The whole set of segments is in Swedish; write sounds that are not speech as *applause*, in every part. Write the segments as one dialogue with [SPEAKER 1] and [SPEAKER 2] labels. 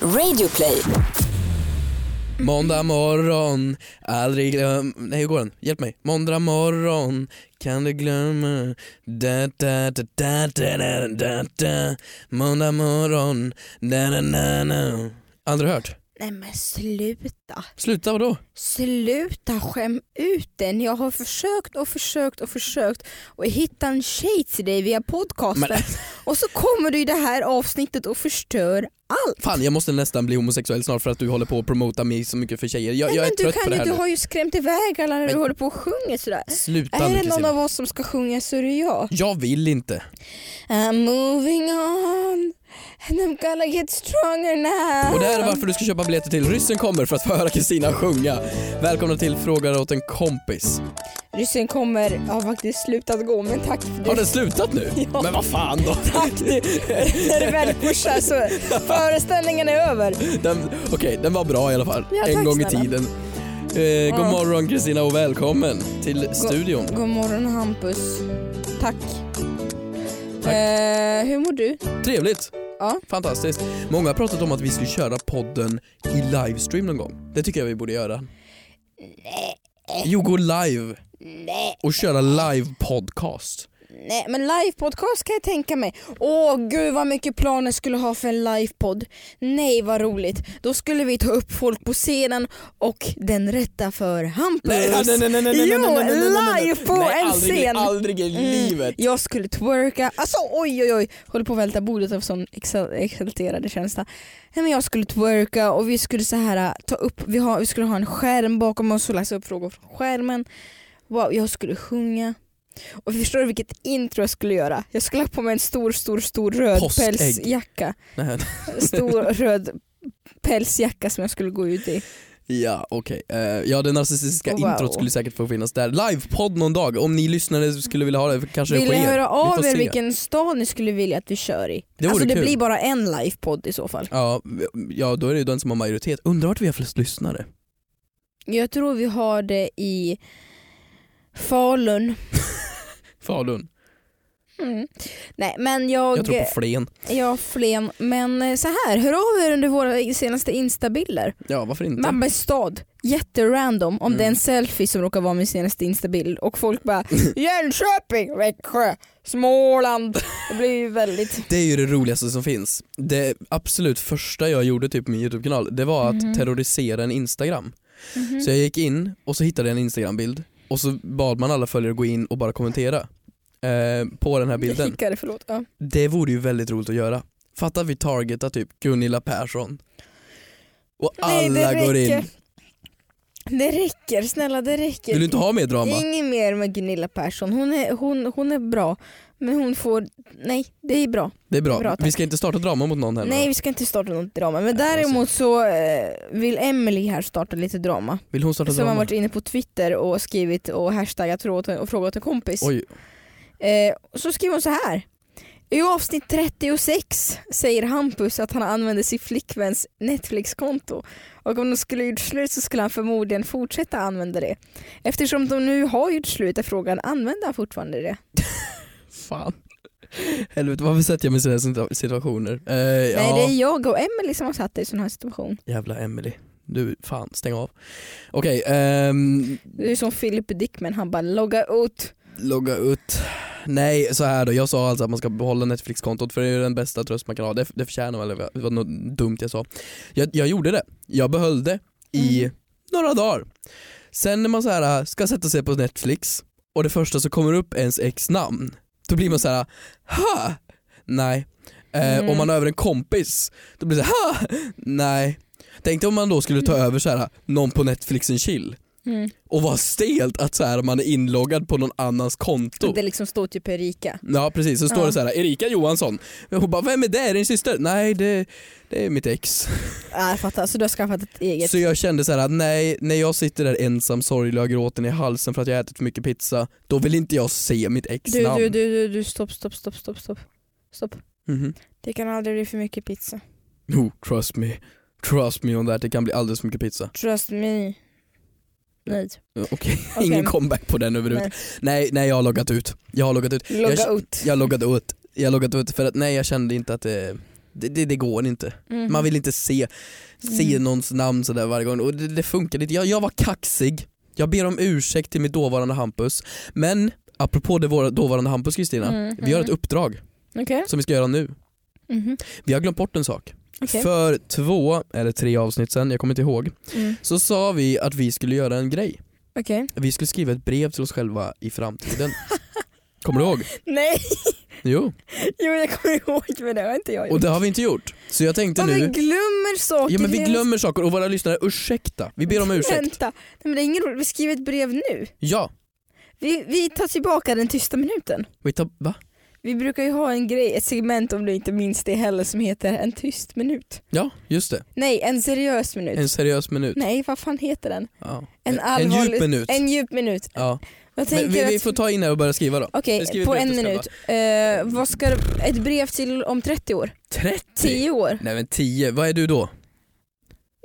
[SPEAKER 1] Radioplay.
[SPEAKER 2] Måndag morgon, aldrig glöm... Nej hur går den? Hjälp mig. Måndag morgon, kan du glömma? Da, da, da, da, da, da, da, da. Måndag morgon, da, da, da, da. Aldrig hört?
[SPEAKER 3] Nej men sluta.
[SPEAKER 2] Sluta vadå?
[SPEAKER 3] Sluta skäm ut den. Jag har försökt och försökt och försökt och hitta en tjej till dig via podcasten.
[SPEAKER 2] Men-
[SPEAKER 3] Och så kommer du i det här avsnittet och förstör allt.
[SPEAKER 2] Fan jag måste nästan bli homosexuell snart för att du håller på att promota mig så mycket för tjejer. Jag,
[SPEAKER 3] Nej,
[SPEAKER 2] jag är
[SPEAKER 3] men du,
[SPEAKER 2] trött på
[SPEAKER 3] kan
[SPEAKER 2] det
[SPEAKER 3] ju,
[SPEAKER 2] här
[SPEAKER 3] du
[SPEAKER 2] nu.
[SPEAKER 3] har ju skrämt iväg alla när du
[SPEAKER 2] Men-
[SPEAKER 3] håller på och sjunger sådär.
[SPEAKER 2] Sluta
[SPEAKER 3] Är
[SPEAKER 2] nu
[SPEAKER 3] det någon
[SPEAKER 2] Kristina.
[SPEAKER 3] av oss som ska sjunga så är det jag.
[SPEAKER 2] Jag vill inte.
[SPEAKER 3] I'm moving on and I'm gonna get stronger now.
[SPEAKER 2] Och det här är varför du ska köpa biljetter till Ryssen kommer för att få höra Kristina sjunga. Välkomna till Frågar åt en kompis.
[SPEAKER 3] Ryssen kommer, har faktiskt slutat gå men tack för det.
[SPEAKER 2] Har den slutat nu?
[SPEAKER 3] Ja.
[SPEAKER 2] Men vad fan då?
[SPEAKER 3] Tack du! När du väl pushar så föreställningen är över.
[SPEAKER 2] Den, Okej, den var bra i alla fall.
[SPEAKER 3] Ja,
[SPEAKER 2] en
[SPEAKER 3] tack
[SPEAKER 2] gång i
[SPEAKER 3] snälla.
[SPEAKER 2] tiden. Eh, god
[SPEAKER 3] Ja.
[SPEAKER 2] morgon Kristina och välkommen till studion.
[SPEAKER 3] God morgon Hampus. Tack.
[SPEAKER 2] Tack.
[SPEAKER 3] Eh, hur mår du?
[SPEAKER 2] Trevligt.
[SPEAKER 3] Ja.
[SPEAKER 2] Fantastiskt. Många har pratat om att vi skulle köra podden i livestream någon gång. Det tycker jag vi borde göra. Nej. Jo, gå live
[SPEAKER 3] Nej,
[SPEAKER 2] och köra live podcast.
[SPEAKER 3] nej men livepoddcast kan jag tänka mig. Åh gud vad mycket planer skulle ha för en livepodd. Nej vad roligt. Då skulle vi ta upp folk på scenen och den rätta för Hampus. Jo, live på
[SPEAKER 2] Nej,
[SPEAKER 3] en
[SPEAKER 2] aldrig,
[SPEAKER 3] scen.
[SPEAKER 2] Aldrig i livet.
[SPEAKER 3] Mm, jag skulle twerka, alltså oj oj oj, håller på att välta bordet av sån exal- exalterade känsla. Nej, men jag skulle twerka och vi skulle så här äh, ta upp, vi, har, vi skulle ha en skärm bakom oss och läsa upp frågor från skärmen. Wow, jag skulle sjunga. Och förstår du vilket intro jag skulle göra? Jag skulle ha på mig en stor, stor, stor röd
[SPEAKER 2] Påskägg.
[SPEAKER 3] pälsjacka.
[SPEAKER 2] Nej.
[SPEAKER 3] Stor
[SPEAKER 2] *laughs*
[SPEAKER 3] röd pälsjacka som jag skulle gå ut i.
[SPEAKER 2] Ja okej, Eh, ja det narcissistiska
[SPEAKER 3] Wow.
[SPEAKER 2] introt skulle säkert få finnas där. Livepodd någon dag, om ni lyssnare skulle vilja ha det kanske
[SPEAKER 3] Vill
[SPEAKER 2] det
[SPEAKER 3] ni
[SPEAKER 2] sker.
[SPEAKER 3] höra
[SPEAKER 2] Vi
[SPEAKER 3] av
[SPEAKER 2] får
[SPEAKER 3] er
[SPEAKER 2] se.
[SPEAKER 3] vilken stad ni skulle vilja att vi kör i?
[SPEAKER 2] Det vore
[SPEAKER 3] alltså det
[SPEAKER 2] kul.
[SPEAKER 3] blir bara en livepodd i så fall.
[SPEAKER 2] Ja, ja då är det ju den som har majoritet. Undrar vart vi har flest lyssnare?
[SPEAKER 3] Jag tror vi har det i Falun.
[SPEAKER 2] Falun.
[SPEAKER 3] Mm. Nej men jag,
[SPEAKER 2] Jag tror på Flen.
[SPEAKER 3] jag Flen. Men eh, så här, hör av er under våra senaste instabilder.
[SPEAKER 2] Ja varför inte?
[SPEAKER 3] Mamma i stad, jätterandom om
[SPEAKER 2] Mm.
[SPEAKER 3] det är en selfie som råkar vara min senaste instabild och
[SPEAKER 2] *laughs*
[SPEAKER 3] folk bara Jönköping, Växjö, Småland. Det blir ju väldigt...
[SPEAKER 2] Det är ju det roligaste som finns. Det absolut första jag gjorde typ på min YouTube-kanal, det var att
[SPEAKER 3] Mhm.
[SPEAKER 2] terrorisera en Instagram. Så jag gick in och så hittade jag en Instagram-bild och så bad man alla följare gå in och bara kommentera eh, på
[SPEAKER 3] *laughs*
[SPEAKER 2] den här
[SPEAKER 3] Jag
[SPEAKER 2] bilden.
[SPEAKER 3] hickade, förlåt. Ja.
[SPEAKER 2] Det vore ju väldigt roligt att göra. Fatta att vi targetar typ Gunilla Persson. Och
[SPEAKER 3] Nej, det
[SPEAKER 2] alla går in.
[SPEAKER 3] räcker. Det räcker, snälla det räcker.
[SPEAKER 2] Vill du inte ha mer drama?
[SPEAKER 3] Inget mer med Gunilla Persson. Hon är, hon, hon är bra. Men hon får... Nej, det är bra.
[SPEAKER 2] Det är bra.
[SPEAKER 3] Bra, tack.
[SPEAKER 2] vi ska inte starta drama mot någon här
[SPEAKER 3] Nej,
[SPEAKER 2] nu.
[SPEAKER 3] vi ska inte starta något drama. Men
[SPEAKER 2] Nej,
[SPEAKER 3] däremot så eh, vill Emily här starta lite drama.
[SPEAKER 2] Vill hon starta
[SPEAKER 3] Som har
[SPEAKER 2] drama?
[SPEAKER 3] varit inne på Twitter och skrivit och hashtaggat för åt- och frågat en kompis.
[SPEAKER 2] Oj,
[SPEAKER 3] Eh, och så skriver hon så här. I avsnitt 36 säger Hampus att han använder sin flickväns Netflix-konto och om de skulle gjort slut så skulle han förmodligen fortsätta använda det. Eftersom de nu har gjort slut är frågan, använder han fortfarande det?
[SPEAKER 2] fan. Helvete, varför sätter jag mig i sådana här situationer? Eh, ja,
[SPEAKER 3] Nej det är jag och Emily som har satt dig i sån här situation.
[SPEAKER 2] jävla Emily. Du, fan, stäng av. Okej, ehm,
[SPEAKER 3] Du är som Philip Dickman, han bara logga ut.
[SPEAKER 2] logga ut. Nej, så här då. Jag sa alltså att man ska behålla Netflix-kontot för det är ju den bästa tröst man kan ha. Det, det förtjänar man, eller det var något dumt jag sa. Jag, jag gjorde det. Jag behöll det i
[SPEAKER 3] Mm.
[SPEAKER 2] några dagar. Sen när man så här äh, ska sätta sig på Netflix och det första som kommer upp är ens ex namn. Då blir man så här, äh, ha! Nej. Eh,
[SPEAKER 3] Mm.
[SPEAKER 2] Om man har över en kompis, då blir det så här, ha! Nej. Tänk dig om man då skulle ta över så här, äh, någon på Netflix and chill
[SPEAKER 3] Mm.
[SPEAKER 2] och vad stelt att så här, man är inloggad på någon annans konto.
[SPEAKER 3] Det liksom står typ Erika.
[SPEAKER 2] Ja precis, så står
[SPEAKER 3] Ja.
[SPEAKER 2] det så här Erika Johansson. Hon bara, vem är det? Är det din syster? Nej det, det är mitt ex.
[SPEAKER 3] Ja, jag fattar, så du har skaffat ett eget.
[SPEAKER 2] Så jag kände så här, nej, när jag sitter där ensam sorglig och gråten i halsen för att jag ätit för mycket pizza, då vill inte jag se mitt ex
[SPEAKER 3] Du,
[SPEAKER 2] namn.
[SPEAKER 3] du, du, du, du, stopp, stopp, stopp, stopp, stopp. Stopp.
[SPEAKER 2] Mhm.
[SPEAKER 3] Det kan aldrig bli för mycket pizza.
[SPEAKER 2] Oh, trust me. Trust me on that, det kan bli alldeles för mycket pizza.
[SPEAKER 3] Trust me. Nej.
[SPEAKER 2] Eh, Okej,
[SPEAKER 3] Okej.
[SPEAKER 2] ingen comeback på den överhuvudtaget. Nej, nej jag har loggat ut. Jag har loggat ut.
[SPEAKER 3] Logga
[SPEAKER 2] jag,
[SPEAKER 3] ut.
[SPEAKER 2] jag har loggat ut. Jag har loggat ut för att nej jag kände inte att det, det, det, det går inte.
[SPEAKER 3] Mhm.
[SPEAKER 2] Man vill inte se, se
[SPEAKER 3] Mm.
[SPEAKER 2] någons namn sådär varje gång och det, det funkar inte. Jag, jag var kaxig, jag ber om ursäkt till mitt dåvarande Hampus. Men apropå det våra dåvarande Hampus Kristina,
[SPEAKER 3] Mm,
[SPEAKER 2] vi har ett
[SPEAKER 3] mhm.
[SPEAKER 2] uppdrag
[SPEAKER 3] Okej.
[SPEAKER 2] som vi ska göra nu.
[SPEAKER 3] Mhm.
[SPEAKER 2] Vi har glömt bort en sak.
[SPEAKER 3] Okej.
[SPEAKER 2] För två eller tre avsnitt sen, jag kommer inte ihåg,
[SPEAKER 3] Mm.
[SPEAKER 2] så sa vi att vi skulle göra en grej.
[SPEAKER 3] Okej.
[SPEAKER 2] Vi skulle skriva ett brev till oss själva i
[SPEAKER 3] *laughs*
[SPEAKER 2] framtiden. kommer du ihåg?
[SPEAKER 3] Nej, *laughs*
[SPEAKER 2] Jo,
[SPEAKER 3] jo, jag kommer ihåg men det har inte jag
[SPEAKER 2] och
[SPEAKER 3] gjort.
[SPEAKER 2] det har vi inte gjort. Så jag tänkte
[SPEAKER 3] Man
[SPEAKER 2] nu,
[SPEAKER 3] glömmer saker.
[SPEAKER 2] ja, men vi
[SPEAKER 3] Det är-
[SPEAKER 2] glömmer saker och våra lyssnare, ursäkta. Vi ber om ursäkt.
[SPEAKER 3] Vänta, Nej, men det är ingen roligt. Vi skriver ett brev nu.
[SPEAKER 2] Ja,
[SPEAKER 3] Vi, vi tar tillbaka den tysta minuten.
[SPEAKER 2] vi tar, va?
[SPEAKER 3] Vi brukar ju ha en grej, ett segment om du inte minns det heller som heter en tyst minut.
[SPEAKER 2] Ja, just det.
[SPEAKER 3] Nej, en seriös minut.
[SPEAKER 2] En seriös minut.
[SPEAKER 3] Nej, vad fan heter den?
[SPEAKER 2] Ja.
[SPEAKER 3] En
[SPEAKER 2] en
[SPEAKER 3] allvarlig-
[SPEAKER 2] djup minut.
[SPEAKER 3] En djup minut.
[SPEAKER 2] Ja.
[SPEAKER 3] Jag tänker
[SPEAKER 2] Men vi, vi
[SPEAKER 3] att...
[SPEAKER 2] får ta in det och börja skriva då.
[SPEAKER 3] Okej,
[SPEAKER 2] vi skriver
[SPEAKER 3] på
[SPEAKER 2] brev
[SPEAKER 3] en
[SPEAKER 2] till oss
[SPEAKER 3] minut. Eh, vad ska du... Ett brev till om 30 år?
[SPEAKER 2] 30?
[SPEAKER 3] 10 år?
[SPEAKER 2] Nej men 10, vad är du då?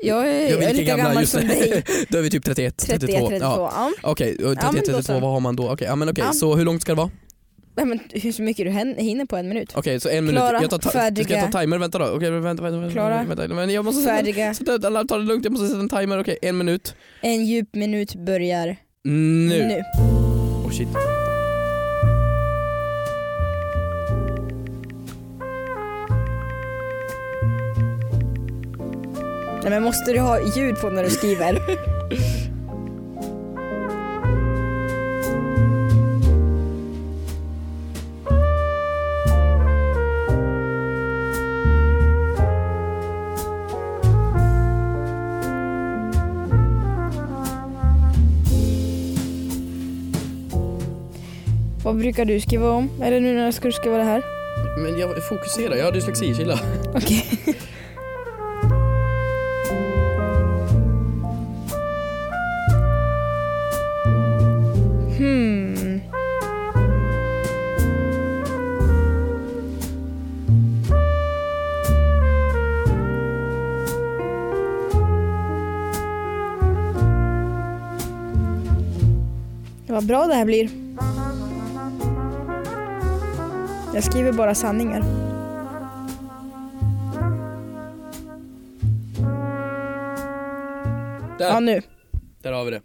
[SPEAKER 3] Jag är, jag är lika gammal
[SPEAKER 2] just
[SPEAKER 3] som
[SPEAKER 2] *laughs* det.
[SPEAKER 3] dig.
[SPEAKER 2] då är vi typ 31,
[SPEAKER 3] 31,
[SPEAKER 2] 32.
[SPEAKER 3] 32.
[SPEAKER 2] Ja.
[SPEAKER 3] Ja.
[SPEAKER 2] Okej, och
[SPEAKER 3] Ja, men
[SPEAKER 2] 31,
[SPEAKER 3] då
[SPEAKER 2] 32,
[SPEAKER 3] så.
[SPEAKER 2] vad har man då? Okej, ja, men okej.
[SPEAKER 3] Ja.
[SPEAKER 2] Så hur långt ska det vara?
[SPEAKER 3] Nej, men hur mycket du hän- hinner på en minut.
[SPEAKER 2] Okej, så en minut.
[SPEAKER 3] Klara,
[SPEAKER 2] Jag tar ta- Ska
[SPEAKER 3] färdiga.
[SPEAKER 2] jag ta timer? Vänta då. Okej, vänta, vänta. vänta
[SPEAKER 3] Klara,
[SPEAKER 2] vänta, men jag måste sätta,
[SPEAKER 3] Färdiga.
[SPEAKER 2] sätta, alla, ta det lugnt, jag måste sätta en timer. Okej, en minut.
[SPEAKER 3] En djup minut börjar
[SPEAKER 2] Nu.
[SPEAKER 3] nu.
[SPEAKER 2] Oh, shit.
[SPEAKER 3] Nej, men måste du ha ljud på när du skriver? Vad brukar du skriva om? Eller nu när ska du skriva det här?
[SPEAKER 2] Men jag fokuserar, jag har dyslexi, chilla.
[SPEAKER 3] Okej. Hmm. Vad bra det här blir. Jag skriver bara sanningar.
[SPEAKER 2] Där,
[SPEAKER 3] Ja, nu.
[SPEAKER 2] där har vi det.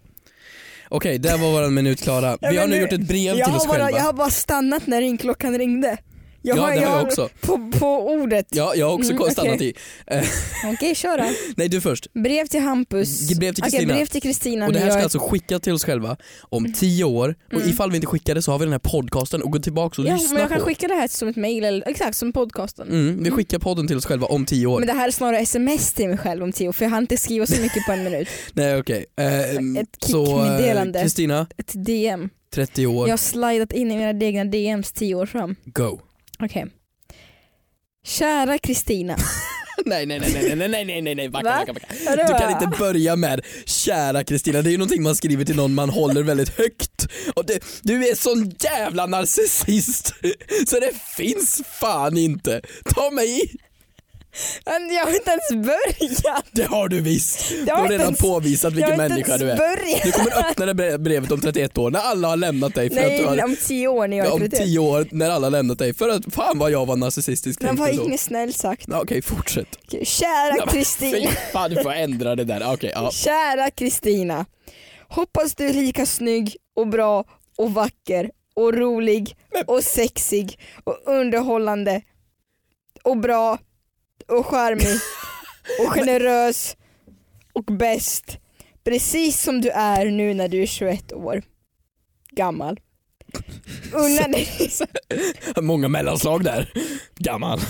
[SPEAKER 2] Okej, där var våran minut klara.
[SPEAKER 3] Ja,
[SPEAKER 2] Vi har
[SPEAKER 3] men
[SPEAKER 2] nu
[SPEAKER 3] nu-
[SPEAKER 2] gjort ett brev
[SPEAKER 3] Jag
[SPEAKER 2] till
[SPEAKER 3] har,
[SPEAKER 2] oss
[SPEAKER 3] bara,
[SPEAKER 2] själva.
[SPEAKER 3] jag har bara stannat när ringklockan ringde. Jag
[SPEAKER 2] Ja, det har jag
[SPEAKER 3] har-
[SPEAKER 2] också.
[SPEAKER 3] På, på ordet.
[SPEAKER 2] Ja, jag har också
[SPEAKER 3] Mm,
[SPEAKER 2] stannat
[SPEAKER 3] okej.
[SPEAKER 2] i.
[SPEAKER 3] Okej, kör då.
[SPEAKER 2] Nej, du först.
[SPEAKER 3] Brev till Hampus.
[SPEAKER 2] Brev till
[SPEAKER 3] Okej,
[SPEAKER 2] Kristina.
[SPEAKER 3] brev till Kristina.
[SPEAKER 2] Och det här
[SPEAKER 3] när
[SPEAKER 2] ska
[SPEAKER 3] jag-
[SPEAKER 2] alltså skicka till oss själva om tio år och
[SPEAKER 3] Mm.
[SPEAKER 2] ifall vi inte skickar det så har vi den här podcasten och går tillbaka och
[SPEAKER 3] ja,
[SPEAKER 2] lyssnar
[SPEAKER 3] men jag kan
[SPEAKER 2] på.
[SPEAKER 3] skicka det här som ett mejl, eller- exakt som podcasten.
[SPEAKER 2] Mm, vi skickar podden till oss själva om tio år.
[SPEAKER 3] Men det här är snarare sms till mig själv om tio för jag hann inte skriva så mycket på
[SPEAKER 2] *laughs*
[SPEAKER 3] en minut.
[SPEAKER 2] Nej okej. Ehm,
[SPEAKER 3] Ett
[SPEAKER 2] så eh,
[SPEAKER 3] kickmeddelande.
[SPEAKER 2] Kristina,
[SPEAKER 3] Ett DM.
[SPEAKER 2] 30 år,
[SPEAKER 3] Jag har slidat in i mina egna DMs tio år fram.
[SPEAKER 2] go.
[SPEAKER 3] Okej.
[SPEAKER 2] *laughs*
[SPEAKER 3] Kära Kristina.
[SPEAKER 2] nej nej nej nej nej nej nej nej nej backa
[SPEAKER 3] Va?
[SPEAKER 2] backa backa. Du kan inte börja med kära Kristina, det är ju någonting man skriver till någon man håller väldigt högt. Och det, du är sån jävla narcissist så det finns fan inte. Ta mig i,
[SPEAKER 3] Jag har inte ens börjat.
[SPEAKER 2] det har du visst. Du
[SPEAKER 3] Jag
[SPEAKER 2] har
[SPEAKER 3] har inte
[SPEAKER 2] redan
[SPEAKER 3] ens,
[SPEAKER 2] påvisat
[SPEAKER 3] jag
[SPEAKER 2] vilken
[SPEAKER 3] har inte
[SPEAKER 2] människa
[SPEAKER 3] ens
[SPEAKER 2] du är.
[SPEAKER 3] börjat.
[SPEAKER 2] Du kommer öppna det bre- brevet om 31 år när alla har lämnat dig för att
[SPEAKER 3] Nej,
[SPEAKER 2] du har
[SPEAKER 3] om tio år när jag är
[SPEAKER 2] om
[SPEAKER 3] 31.
[SPEAKER 2] 10 år när alla har lämnat dig för att fan vad jag var narcissistisk
[SPEAKER 3] Men vad
[SPEAKER 2] tänkte då.
[SPEAKER 3] inget snällt sagt.
[SPEAKER 2] Ja, Okej, fortsätt.
[SPEAKER 3] Okej, Kära
[SPEAKER 2] Fy
[SPEAKER 3] Kristina,
[SPEAKER 2] fan, du får ändra det där. Okej, ja.
[SPEAKER 3] kära Kristina. Hoppas du är lika snygg och bra och vacker och rolig och sexig och underhållande och bra
[SPEAKER 2] *laughs*
[SPEAKER 3] och charmig och generös och bäst. Precis som du är nu när du är 21 år gammal. Unna dig,
[SPEAKER 2] Många mellanslag där. Gammal.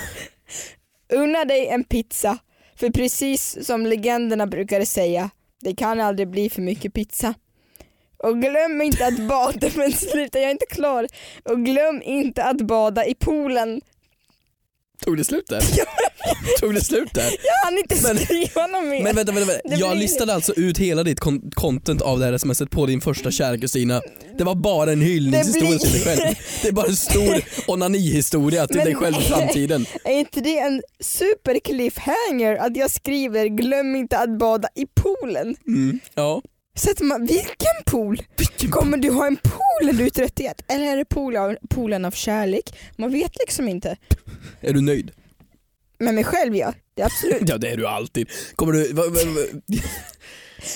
[SPEAKER 3] Unna dig en pizza, för precis som legenderna brukade säga, det kan aldrig bli för mycket pizza. Och glöm inte att bada, *laughs* men sluta jag är inte klar. Och glöm inte att bada i poolen.
[SPEAKER 2] Tog det slut *laughs* där? Tog det slut där?
[SPEAKER 3] Jag hann inte
[SPEAKER 2] Men-
[SPEAKER 3] skriva något mer.
[SPEAKER 2] Men vänta, vänta,
[SPEAKER 3] Det
[SPEAKER 2] vänta.
[SPEAKER 3] blir
[SPEAKER 2] jag
[SPEAKER 3] inget.
[SPEAKER 2] listade alltså ut hela ditt kon- content av det här smset på din första kära kusina. Det var bara en hyllningshistoria
[SPEAKER 3] Det blir-
[SPEAKER 2] till dig själv. Det är bara en
[SPEAKER 3] *laughs*
[SPEAKER 2] stor onanihistoria till
[SPEAKER 3] Men-
[SPEAKER 2] dig själv i framtiden.
[SPEAKER 3] Är inte det en super cliffhanger att jag skriver glöm inte att bada i poolen?
[SPEAKER 2] Mm. Ja.
[SPEAKER 3] Så att man, vilken pool?
[SPEAKER 2] Vilken
[SPEAKER 3] Kommer du ha en pool när du är 31? Eller är det pool av, poolen av kärlek? Man vet liksom inte.
[SPEAKER 2] Är du nöjd?
[SPEAKER 3] Med mig själv ja, det är absolut.
[SPEAKER 2] Ja det är du alltid. Kommer du... Va, va, va,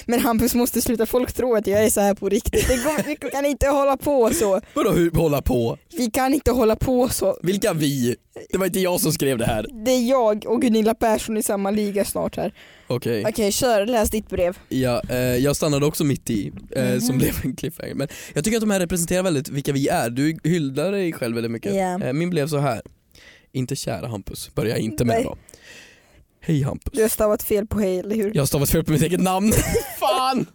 [SPEAKER 3] Men Hampus måste sluta, folk tror att jag är så här på riktigt. Det går, vi kan inte hålla på så.
[SPEAKER 2] vadå hur, hålla på?
[SPEAKER 3] Vi kan inte hålla på så.
[SPEAKER 2] Vilka vi? Det var inte jag som skrev det här.
[SPEAKER 3] Det är jag och Gunilla Persson i samma liga snart här.
[SPEAKER 2] Okej.
[SPEAKER 3] Okej, kör, läs ditt brev.
[SPEAKER 2] Ja, eh, jag stannade också mitt i, eh,
[SPEAKER 3] Mhm.
[SPEAKER 2] som blev en cliffhanger. Men jag tycker att de här representerar väldigt vilka vi är. Du hyllar dig själv väldigt mycket.
[SPEAKER 3] Ja.
[SPEAKER 2] Eh, min blev så här. Inte kära Hampus, börjar jag inte med
[SPEAKER 3] Nej.
[SPEAKER 2] då. Hej Hampus.
[SPEAKER 3] Du har stavat fel på hej, eller hur?
[SPEAKER 2] Jag har stavat fel på mitt eget namn. *laughs* Fan!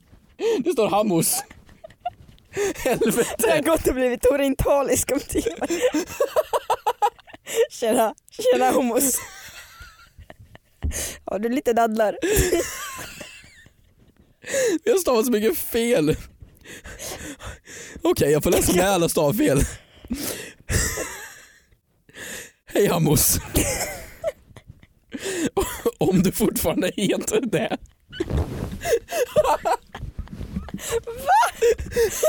[SPEAKER 2] Det står Hammos.
[SPEAKER 3] Det har
[SPEAKER 2] Helvete.
[SPEAKER 3] gått och blivit orintalisk om timmar. *laughs* tjena, tjena homos. Har du lite dadlar?
[SPEAKER 2] Jag har stavat så mycket fel. Okej, jag får läsa med alla stavfel. Hej Hammos. Om du fortfarande heter det.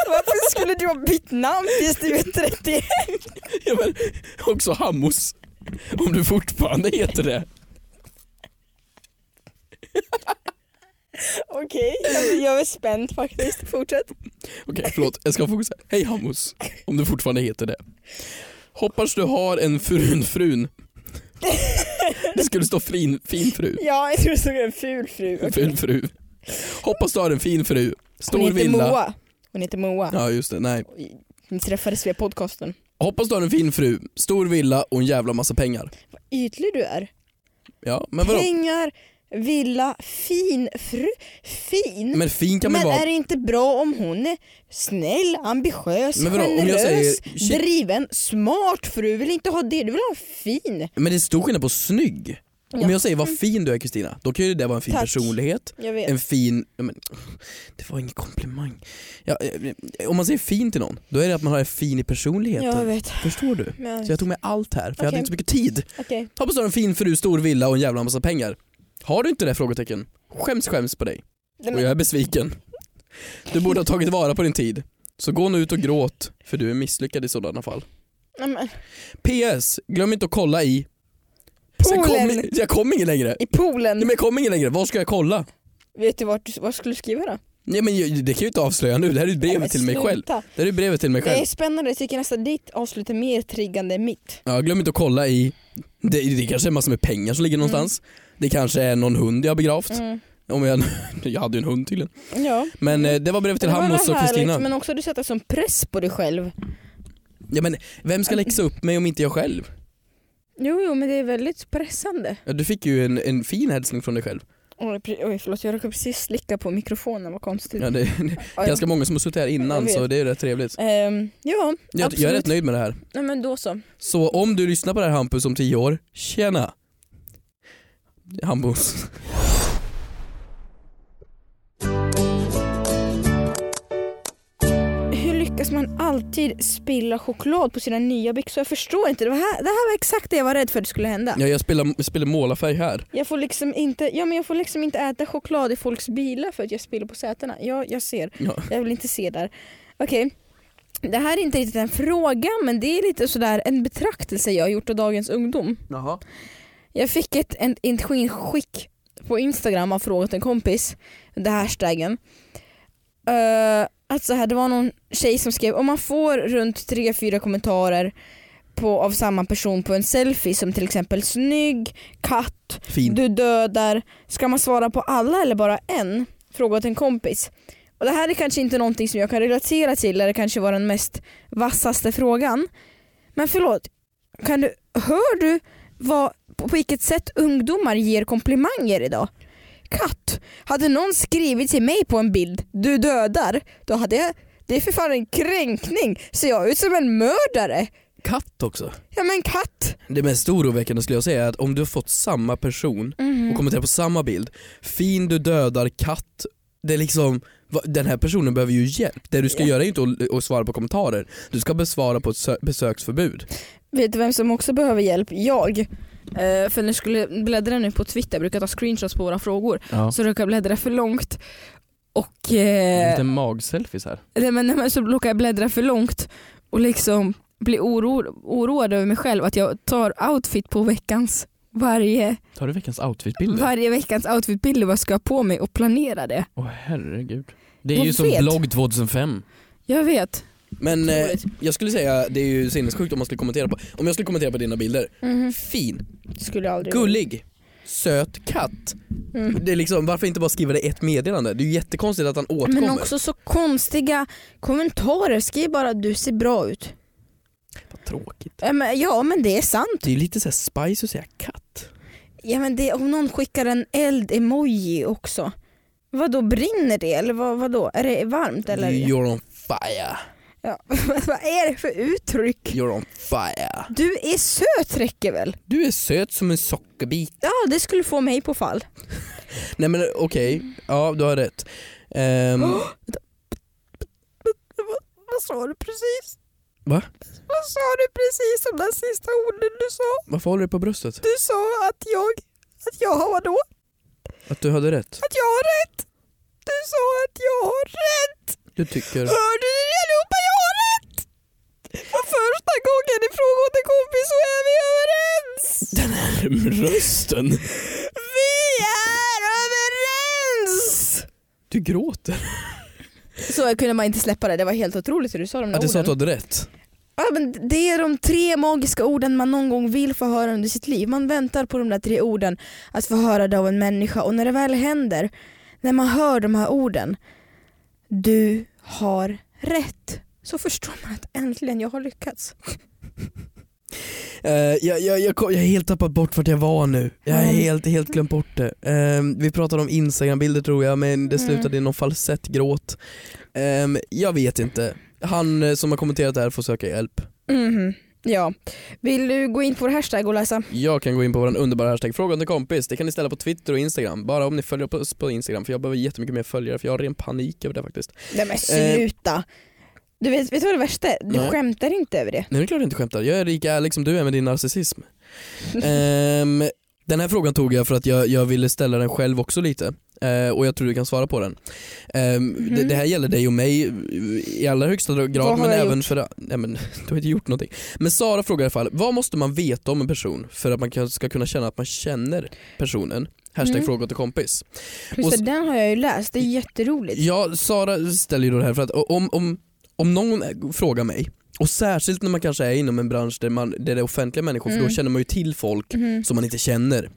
[SPEAKER 3] Varför skulle du ha bytt namn tills du är 31?
[SPEAKER 2] Ja, men också Hammos. Om du fortfarande heter det.
[SPEAKER 3] Okej, jag- jag är spänd faktiskt. Fortsätt.
[SPEAKER 2] Okej, förlåt. Jag ska fokusera. Hej Hammos. Om du fortfarande heter det. Hoppas du har en frun-frun. Det skulle stå fin, fin fru.
[SPEAKER 3] Ja, jag tror det stod en ful fru. Okej.
[SPEAKER 2] Ful fru. Hoppas du har en fin fru. Stor
[SPEAKER 3] Hon heter
[SPEAKER 2] villa.
[SPEAKER 3] Moa. Hon heter Moa.
[SPEAKER 2] Ja, just det. Nej.
[SPEAKER 3] Ni träffades via podcasten.
[SPEAKER 2] Hoppas du har en fin fru, stor villa och en jävla massa pengar.
[SPEAKER 3] Vad ytlig du är.
[SPEAKER 2] Ja, men vadå?
[SPEAKER 3] Pengar, villa, fin fru. Fin?
[SPEAKER 2] Men fin kan man
[SPEAKER 3] Men
[SPEAKER 2] vara.
[SPEAKER 3] är det inte bra om hon är snäll, ambitiös,
[SPEAKER 2] Men vadå, om jag
[SPEAKER 3] generös,
[SPEAKER 2] säger tje-
[SPEAKER 3] driven, smart fru? Vill inte ha det, du vill ha en fin.
[SPEAKER 2] Men det är stor skillnad på snygg.
[SPEAKER 3] Ja.
[SPEAKER 2] Om jag säger vad fin du är Kristina, då kan ju det vara en fin
[SPEAKER 3] Tack.
[SPEAKER 2] personlighet.
[SPEAKER 3] Jag vet.
[SPEAKER 2] En fin... ja, Men, det var ingen komplimang. Ja, eh, om man säger fin till någon, då är det att man har en fin i personligheten.
[SPEAKER 3] jag vet.
[SPEAKER 2] Förstår du?
[SPEAKER 3] Men,
[SPEAKER 2] Så jag tog med allt här, för jag hade
[SPEAKER 3] Okej.
[SPEAKER 2] inte så mycket tid.
[SPEAKER 3] okej.
[SPEAKER 2] Hoppas du har en fin fru, stor villa och en jävla massa pengar. Har du inte det? frågetecken? Skäms skäms på dig.
[SPEAKER 3] Nej,
[SPEAKER 2] Och
[SPEAKER 3] men-
[SPEAKER 2] jag är besviken. Du borde ha tagit vara på din tid. Så gå nu ut och gråt, för du är misslyckad i sådana fall.
[SPEAKER 3] nej, men-
[SPEAKER 2] PS, glöm inte att kolla i... Så jag kom-
[SPEAKER 3] Poolen.
[SPEAKER 2] Jag kom ingen längre.
[SPEAKER 3] I poolen,
[SPEAKER 2] Nej, men jag kom ingen längre, var ska jag kolla?
[SPEAKER 3] vet du vart du, vad skulle du skriva då?
[SPEAKER 2] Nej men jag- det kan jag ju inte avslöja nu, det här är ju
[SPEAKER 3] Nej,
[SPEAKER 2] brevet
[SPEAKER 3] men
[SPEAKER 2] till mig
[SPEAKER 3] sluta.
[SPEAKER 2] själv. Det här är ju brevet till mig
[SPEAKER 3] Det
[SPEAKER 2] själv.
[SPEAKER 3] är spännande, jag tycker nästan ditt avslut är mer triggande än mitt.
[SPEAKER 2] Ja, glöm inte att kolla i... Det, det kanske är massor med pengar som
[SPEAKER 3] Mm.
[SPEAKER 2] ligger någonstans. Det kanske är någon hund jag har begravt. Om jag, *laughs* jag hade ju en hund tydligen.
[SPEAKER 3] Ja.
[SPEAKER 2] Men eh, det var brevet till
[SPEAKER 3] Det var
[SPEAKER 2] Hammos och
[SPEAKER 3] härligt,
[SPEAKER 2] Kristina.
[SPEAKER 3] Men också du sätter sån press på dig själv.
[SPEAKER 2] Ja, men vem ska läxa upp mig om inte jag själv?
[SPEAKER 3] Jo, jo men det är väldigt pressande.
[SPEAKER 2] Ja, du fick ju en, en fin hälsning från dig själv.
[SPEAKER 3] Oj, pre- oj förlåt jag råkade precis slicka på mikrofonen, vad konstigt.
[SPEAKER 2] Ja, det, det
[SPEAKER 3] *laughs*
[SPEAKER 2] är
[SPEAKER 3] Oj.
[SPEAKER 2] ganska många som har suttit här
[SPEAKER 3] Jag
[SPEAKER 2] innan
[SPEAKER 3] vet.
[SPEAKER 2] så det är rätt trevligt.
[SPEAKER 3] Ehm, ja,
[SPEAKER 2] Jag, jag är
[SPEAKER 3] absolut.
[SPEAKER 2] rätt nöjd med det här.
[SPEAKER 3] Nej, men då så.
[SPEAKER 2] Så om du lyssnar på det här Hampus om tio år, tjena! Hampus.
[SPEAKER 3] Hur lyckas man alltid spilla choklad på sina nya byxor? Jag förstår inte. Det, var här, det här var exakt det jag var rädd för att det skulle hända.
[SPEAKER 2] Ja, jag spelar, jag spelar målarfärg här.
[SPEAKER 3] Jag, får liksom inte, ja, men jag får liksom inte äta choklad i folks bilar för att jag spiller på sätena. Ja, jag ser.
[SPEAKER 2] Ja.
[SPEAKER 3] Jag vill inte se där. Okej. Det här är inte riktigt en fråga men det är lite sådär en betraktelse jag har gjort av dagens ungdom.
[SPEAKER 2] Jaha.
[SPEAKER 3] Jag fick ett, en- ett inskick på Instagram av frågat en kompis, det här hashtaggen. Eh, att så här, det var någon tjej som skrev om man får runt 3-4 kommentarer på, av samma person på en selfie som till exempel snygg, katt,
[SPEAKER 2] Fin.
[SPEAKER 3] du dödar. Ska man svara på alla eller bara en? Frågat en kompis. Och Det här är kanske inte någonting som jag kan relatera till eller kanske var den mest vassaste frågan. Men förlåt, kan du, hör du vad, på vilket sätt ungdomar ger komplimanger idag? Katt. Hade någon skrivit till mig på en bild, du dödar, då hade jag, det är för fan en kränkning. Ser jag ut som en mördare?
[SPEAKER 2] Katt också.
[SPEAKER 3] Ja men katt.
[SPEAKER 2] Det mest oroväckande skulle jag säga är att om du har fått samma person
[SPEAKER 3] Mm.
[SPEAKER 2] och kommenterar på samma bild, fin du dödar katt, det är liksom va- den här personen behöver ju hjälp. Det du ska göra är ju inte att- att svara på kommentarer. Du ska besvara på ett sö- besöksförbud.
[SPEAKER 3] Vet du vem som också behöver hjälp? Jag. Eh, för när jag skulle bläddra nu på Twitter, jag brukar ta screenshots på våra frågor,
[SPEAKER 2] Ja.
[SPEAKER 3] så råkade jag bläddra för långt. Och eh,
[SPEAKER 2] Lite magselfies här.
[SPEAKER 3] nej, men, nej, men så råkade jag bläddra för långt och liksom bli oro, oroad över mig själv att jag tar outfit på veckans varje,
[SPEAKER 2] Tar du veckans outfitbilder?
[SPEAKER 3] varje veckans outfitbilder, vad ska jag ha på mig och planera det.
[SPEAKER 2] Åh herregud. Det är
[SPEAKER 3] Jag
[SPEAKER 2] ju som
[SPEAKER 3] vet.
[SPEAKER 2] blogg 2005.
[SPEAKER 3] Jag vet.
[SPEAKER 2] Men eh,
[SPEAKER 3] Otroligt.
[SPEAKER 2] jag skulle säga, det är ju sinnessjukt om man skulle kommentera på, om jag skulle kommentera på dina bilder. Fin,
[SPEAKER 3] Skulle aldrig
[SPEAKER 2] gullig, söt katt.
[SPEAKER 3] Mm.
[SPEAKER 2] Det är liksom, varför inte bara skriva det i ett meddelande? Det är ju jättekonstigt att han återkommer.
[SPEAKER 3] Men också så konstiga kommentarer. Skriv bara du ser bra ut.
[SPEAKER 2] Vad tråkigt.
[SPEAKER 3] Ja men, ja, men det är sant.
[SPEAKER 2] Det är ju lite såhär spice att säga katt.
[SPEAKER 3] Ja, men det, om någon skickar en eld-emoji också. Vad då brinner det eller vad, vadå? Är det varmt eller?
[SPEAKER 2] You're on fire,
[SPEAKER 3] Ja. *laughs* vad är det för uttryck?
[SPEAKER 2] you're on fire.
[SPEAKER 3] Du är söt räcker väl?
[SPEAKER 2] Du är söt som en sockerbit.
[SPEAKER 3] Ja det skulle få mig på fall.
[SPEAKER 2] Nej men okej, ja du har rätt.
[SPEAKER 3] *gasps*
[SPEAKER 2] Ehm,
[SPEAKER 3] Vad sa du precis?
[SPEAKER 2] Va?
[SPEAKER 3] Vad sa du precis om den sista orden du sa?
[SPEAKER 2] varför håller du på bröstet?
[SPEAKER 3] Du sa att jag, att jag har vadå?
[SPEAKER 2] Att du hade rätt?
[SPEAKER 3] Att jag har rätt! Du sa att jag har rätt!
[SPEAKER 2] Du tycker...
[SPEAKER 3] Hörde ni det allihopa? Jag har rätt! För första gången i Fråga åt en kompis så är vi överens!
[SPEAKER 2] Rösten?
[SPEAKER 3] Vi är överens!
[SPEAKER 2] Du gråter.
[SPEAKER 3] Så kunde man inte släppa det, det var helt otroligt hur du sa de där
[SPEAKER 2] Att du sa
[SPEAKER 3] orden.
[SPEAKER 2] att du hade rätt?
[SPEAKER 3] Ja, men det är de tre magiska orden man någon gång vill få höra under sitt liv. Man väntar på de där tre orden att få höra det av en människa och när det väl händer, när man hör de här orden, du har rätt, så förstår man att äntligen jag har lyckats.
[SPEAKER 2] Eh, jag, jag, jag, kom, jag har helt tappat bort vart jag var nu. Jag har
[SPEAKER 3] Ja.
[SPEAKER 2] helt, helt glömt bort det. Eh, vi pratade om instagrambilder tror jag men det
[SPEAKER 3] Mm.
[SPEAKER 2] slutade i någon falsettgråt. Ehm, jag vet inte. Han eh, som har kommenterat det här får söka hjälp.
[SPEAKER 3] Mhm, Ja. Vill du gå in på vår hashtag och läsa?
[SPEAKER 2] Jag kan gå in på vår underbara hashtag fråga till kompis. Det kan ni ställa på Twitter och Instagram. Bara om ni följer oss på Instagram för jag behöver jättemycket mer följare för jag har ren panik över det faktiskt.
[SPEAKER 3] Nej men sluta! Du vet, vet du vad det värsta är? Du
[SPEAKER 2] Nej.
[SPEAKER 3] skämtar inte över det.
[SPEAKER 2] Nej det är klart jag inte skämtar. Jag är lika ärlig som du är med din
[SPEAKER 3] *laughs*
[SPEAKER 2] narcissism. Ehm, den här frågan tog jag för att jag, jag ville ställa den själv också lite. Eh, och jag tror du kan svara på den. Ehm, det,
[SPEAKER 3] Mhm.
[SPEAKER 2] det här gäller dig och mig i allra högsta grad
[SPEAKER 3] Vad har
[SPEAKER 2] men
[SPEAKER 3] jag
[SPEAKER 2] även för Nej men du har inte gjort någonting. Men Sara frågar i alla fall, vad måste man veta om en person för att man kan- ska kunna känna att man känner personen? Hashtag
[SPEAKER 3] Mm.
[SPEAKER 2] fråga till kompis.
[SPEAKER 3] Just
[SPEAKER 2] Och
[SPEAKER 3] det,
[SPEAKER 2] s-
[SPEAKER 3] den har jag ju läst, det är jätteroligt.
[SPEAKER 2] Ja, Sara ställer ju då det här för att om, om, om någon frågar mig, och särskilt när man kanske är inom en bransch där, man, där det är offentliga människor för då
[SPEAKER 3] Mm.
[SPEAKER 2] känner man ju till folk
[SPEAKER 3] Mhm.
[SPEAKER 2] som man inte känner. Om